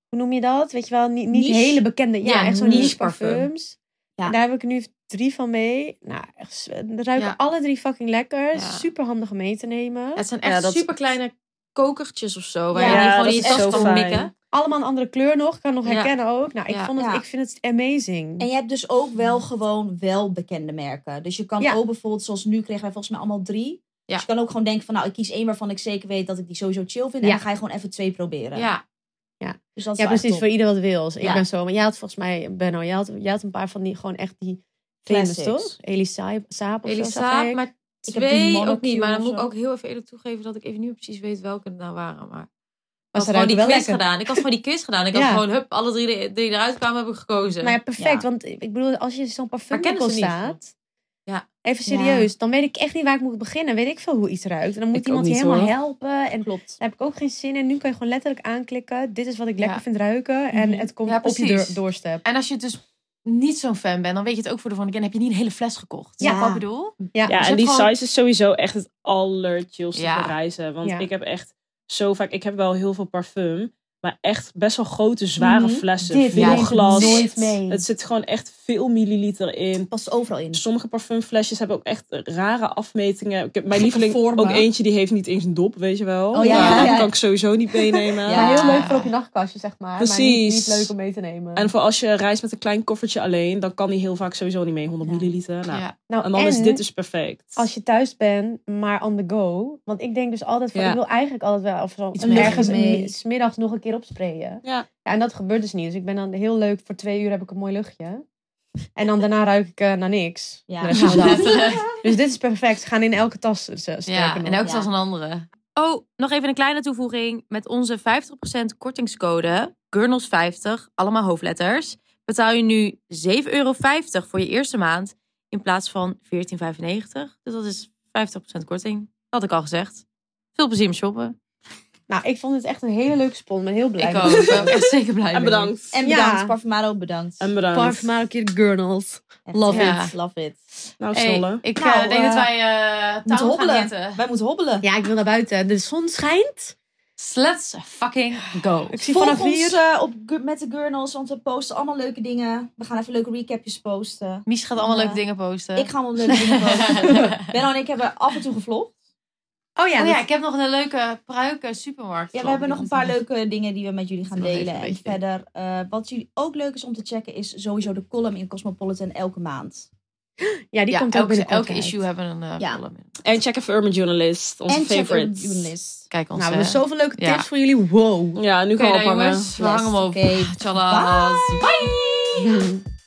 S3: hoe noem je dat? Weet je wel, niet, niet
S5: Niche?
S3: hele bekende. Ja,
S4: Ja,
S3: echt zo'n
S4: niche
S3: niche
S4: parfum.
S3: parfums.
S5: Ja.
S3: En daar heb ik nu drie van mee. Nou, echt, ze ruiken
S4: Ja.
S3: alle drie fucking lekker.
S4: Ja.
S3: Super handig om mee te nemen.
S4: Ja, het zijn echt
S6: Ja, dat-
S4: super kleine kokertjes of zo. Waar je
S5: Ja,
S4: die gewoon in
S6: dat
S4: je
S6: is echt
S4: tas
S6: zo
S4: kan
S6: fijn.
S4: mikken.
S3: Allemaal een andere kleur nog. Kan nog
S4: Ja.
S3: herkennen ook. Nou, ik,
S4: Ja.
S3: vond het,
S5: Ja.
S3: ik vind het amazing.
S5: En je hebt dus ook wel gewoon wel bekende merken. Dus je kan
S3: Ja.
S5: ook bijvoorbeeld, zoals nu kregen wij volgens mij allemaal drie.
S4: Ja.
S5: Dus je kan ook gewoon denken van, nou, ik kies één waarvan ik zeker weet dat ik die sowieso chill vind.
S3: Ja.
S5: En dan ga je gewoon even twee proberen.
S4: Ja,
S5: Dus dat is
S3: Ja,
S5: wel echt
S3: precies. Voor
S5: top.
S3: ieder wat wils. Ik
S5: Ja.
S3: ben zo. Maar jij had volgens mij, Benno, jij had, jij had een paar van die gewoon echt die famous,
S5: Classics.
S3: toch? Elisa Saap of zo, zag
S4: Elisa.
S3: ik.
S4: Maar
S5: Ik heb die
S4: twee ook
S5: Monocule
S4: niet. Maar dan
S5: of
S4: moet ik
S5: zo.
S4: ook heel even eerlijk toegeven dat ik even niet meer precies weet welke het nou waren. Maar
S3: Maar
S4: ik had
S3: ze
S4: gewoon
S3: ruiken
S4: die
S3: wel
S4: quiz
S3: lekker.
S4: gedaan. Ik had gewoon die quiz gedaan. Ik
S3: Ja.
S4: had gewoon, hup, alle drie die eruit kwamen, heb ik gekozen.
S3: Nou ja, perfect.
S5: Ja.
S3: Want ik bedoel, als je zo'n
S4: Maar kennen
S3: parfumwinkel
S4: ze niet
S3: staat...
S4: Ja.
S3: Even serieus. Dan weet ik echt niet waar ik moet beginnen. Weet ik veel hoe iets ruikt. En dan moet
S6: Ik
S3: iemand
S6: ook
S3: je
S6: niet,
S3: helemaal
S6: hoor.
S3: helpen. En
S5: Klopt.
S3: daar heb ik ook geen zin in. Nu kan je gewoon letterlijk aanklikken. Dit is wat ik lekker
S4: Ja.
S3: vind ruiken. En
S5: Mhm.
S3: het komt
S4: Ja,
S3: op je
S4: precies.
S3: deur- doorstep.
S4: En als je dus niet zo'n fan bent, dan weet je het ook voor de volgende keer. Dan heb je niet een hele fles gekocht.
S5: Ja.
S4: Snap je wat ik bedoel?
S3: Ja.
S6: Ja,
S4: Dus
S6: en
S4: je
S6: die
S4: hebt gewoon-
S6: size is sowieso echt het allerchillste
S4: Ja.
S6: voor reizen. Want
S3: Ja.
S6: ik heb echt zo vaak... Ik heb wel heel veel parfum, maar echt best wel grote, zware
S5: Mhm.
S6: flessen.
S3: Dit
S6: veel
S4: neem ik
S6: glas.
S3: nooit mee.
S6: Het zit gewoon echt veel milliliter in.
S5: Past overal in.
S6: Sommige parfumflesjes hebben ook echt rare afmetingen. Ik heb mijn
S5: Gekke
S6: lieveling
S5: vormen.
S6: ook eentje, die heeft niet eens een dop, weet je wel.
S5: Oh ja,
S6: Nou,
S5: ja,
S6: dat
S5: ja.
S6: kan ik sowieso niet meenemen.
S5: Ja.
S3: Maar heel
S4: Ja.
S3: leuk voor op je nachtkastje, zeg maar. Maar niet,
S6: Precies.
S3: niet leuk om mee te nemen.
S6: En voor als je reist met een klein koffertje alleen, dan kan die heel vaak sowieso niet mee, 100
S3: Ja.
S6: milliliter. Nou,
S4: Ja.
S3: nou,
S6: En dan is
S3: en-
S6: dit dus perfect.
S3: als je thuis bent, maar on the go. Want ik denk dus altijd van,
S6: Ja.
S3: ik wil eigenlijk altijd wel of zo,
S4: Iets
S3: een-
S4: mee.
S3: ergens
S5: Mee.
S3: een- smiddags nog een keer opsprayen.
S6: Ja.
S3: en dat gebeurt dus niet. Dus ik ben dan heel leuk, voor twee uur heb ik een mooi luchtje. En dan daarna ruik ik eh, naar niks.
S5: Ja.
S3: De rest van de dag.
S4: Letterlijk.
S3: Dus dit is perfect. Ze gaan in elke tas eh, sterker
S4: Ja,
S3: nog.
S4: en ook
S5: Ja.
S4: zoals een andere. Oh, nog even een kleine toevoeging. Met onze 50% kortingscode, Gurnels50, allemaal hoofdletters, betaal je nu 7,50 euro voor je eerste maand in plaats van 14,95. Dus dat is 50% korting. Dat had ik al gezegd. Veel plezier met shoppen.
S3: Nou, ik vond het echt een hele leuke spon. Ik ben heel blij.
S4: ik
S3: met
S4: ook.
S3: het.
S4: Ik ben ook echt zeker blij
S6: En
S4: mee.
S6: bedankt.
S5: En
S3: Ja.
S5: bedankt, Parfumado bedankt.
S3: Ehm,
S6: En bedankt.
S3: Parf, maar een keer gurnals.
S5: Echt,
S4: love
S5: ja.
S4: it.
S5: Love it.
S6: Nou,
S4: Hey,
S6: snollen.
S4: ik eh,
S5: Nou,
S4: denk dat
S5: eh,
S4: wij eh
S5: moeten
S4: touw gaan
S5: hobbelen.
S4: hitten.
S5: Wij moeten hobbelen.
S3: Ja, ik wil naar buiten. De zon schijnt.
S4: Let's fucking go.
S3: Ik zie
S5: Volg
S3: vanaf
S5: ons
S3: hier.
S5: eh, op, Gu- met de Gurnals, want we posten allemaal leuke dingen. We gaan even leuke recapjes posten.
S4: Mies gaat allemaal
S5: Ja.
S4: leuke dingen posten.
S5: Ik ga allemaal leuke dingen posten. Benno en ik hebben af en toe gevlogd.
S3: Oh ja,
S4: Oh ja,
S3: dat-
S4: ik heb nog een leuke pruiken supermarkt.
S5: dus- Ja, we hebben nog een paar leuke dingen die we met jullie gaan
S4: Nog even
S5: delen.
S4: een
S5: En
S4: beetje.
S5: verder, eh, wat jullie ook leuk is om te checken, is sowieso de column in Cosmopolitan elke maand.
S3: Ja, die
S4: ja,
S3: komt ook
S4: elke,
S3: binnenkort
S4: elke
S3: uit.
S4: issue hebben een eh
S5: Ja.
S4: column in.
S6: En check even Urban Journalist, onze
S5: en check
S6: favorite.
S5: een journalist.
S4: Kijk ons. eh,
S3: Nou, we hebben zoveel leuke tips
S4: ja.
S3: voor jullie. Wow.
S6: Ja, nu
S4: Oké,
S6: gaan we
S4: nou,
S6: ophangen.
S4: jongens, we
S5: Yes,
S4: hangen hem op.
S5: oké.
S4: Tjallas. Bye.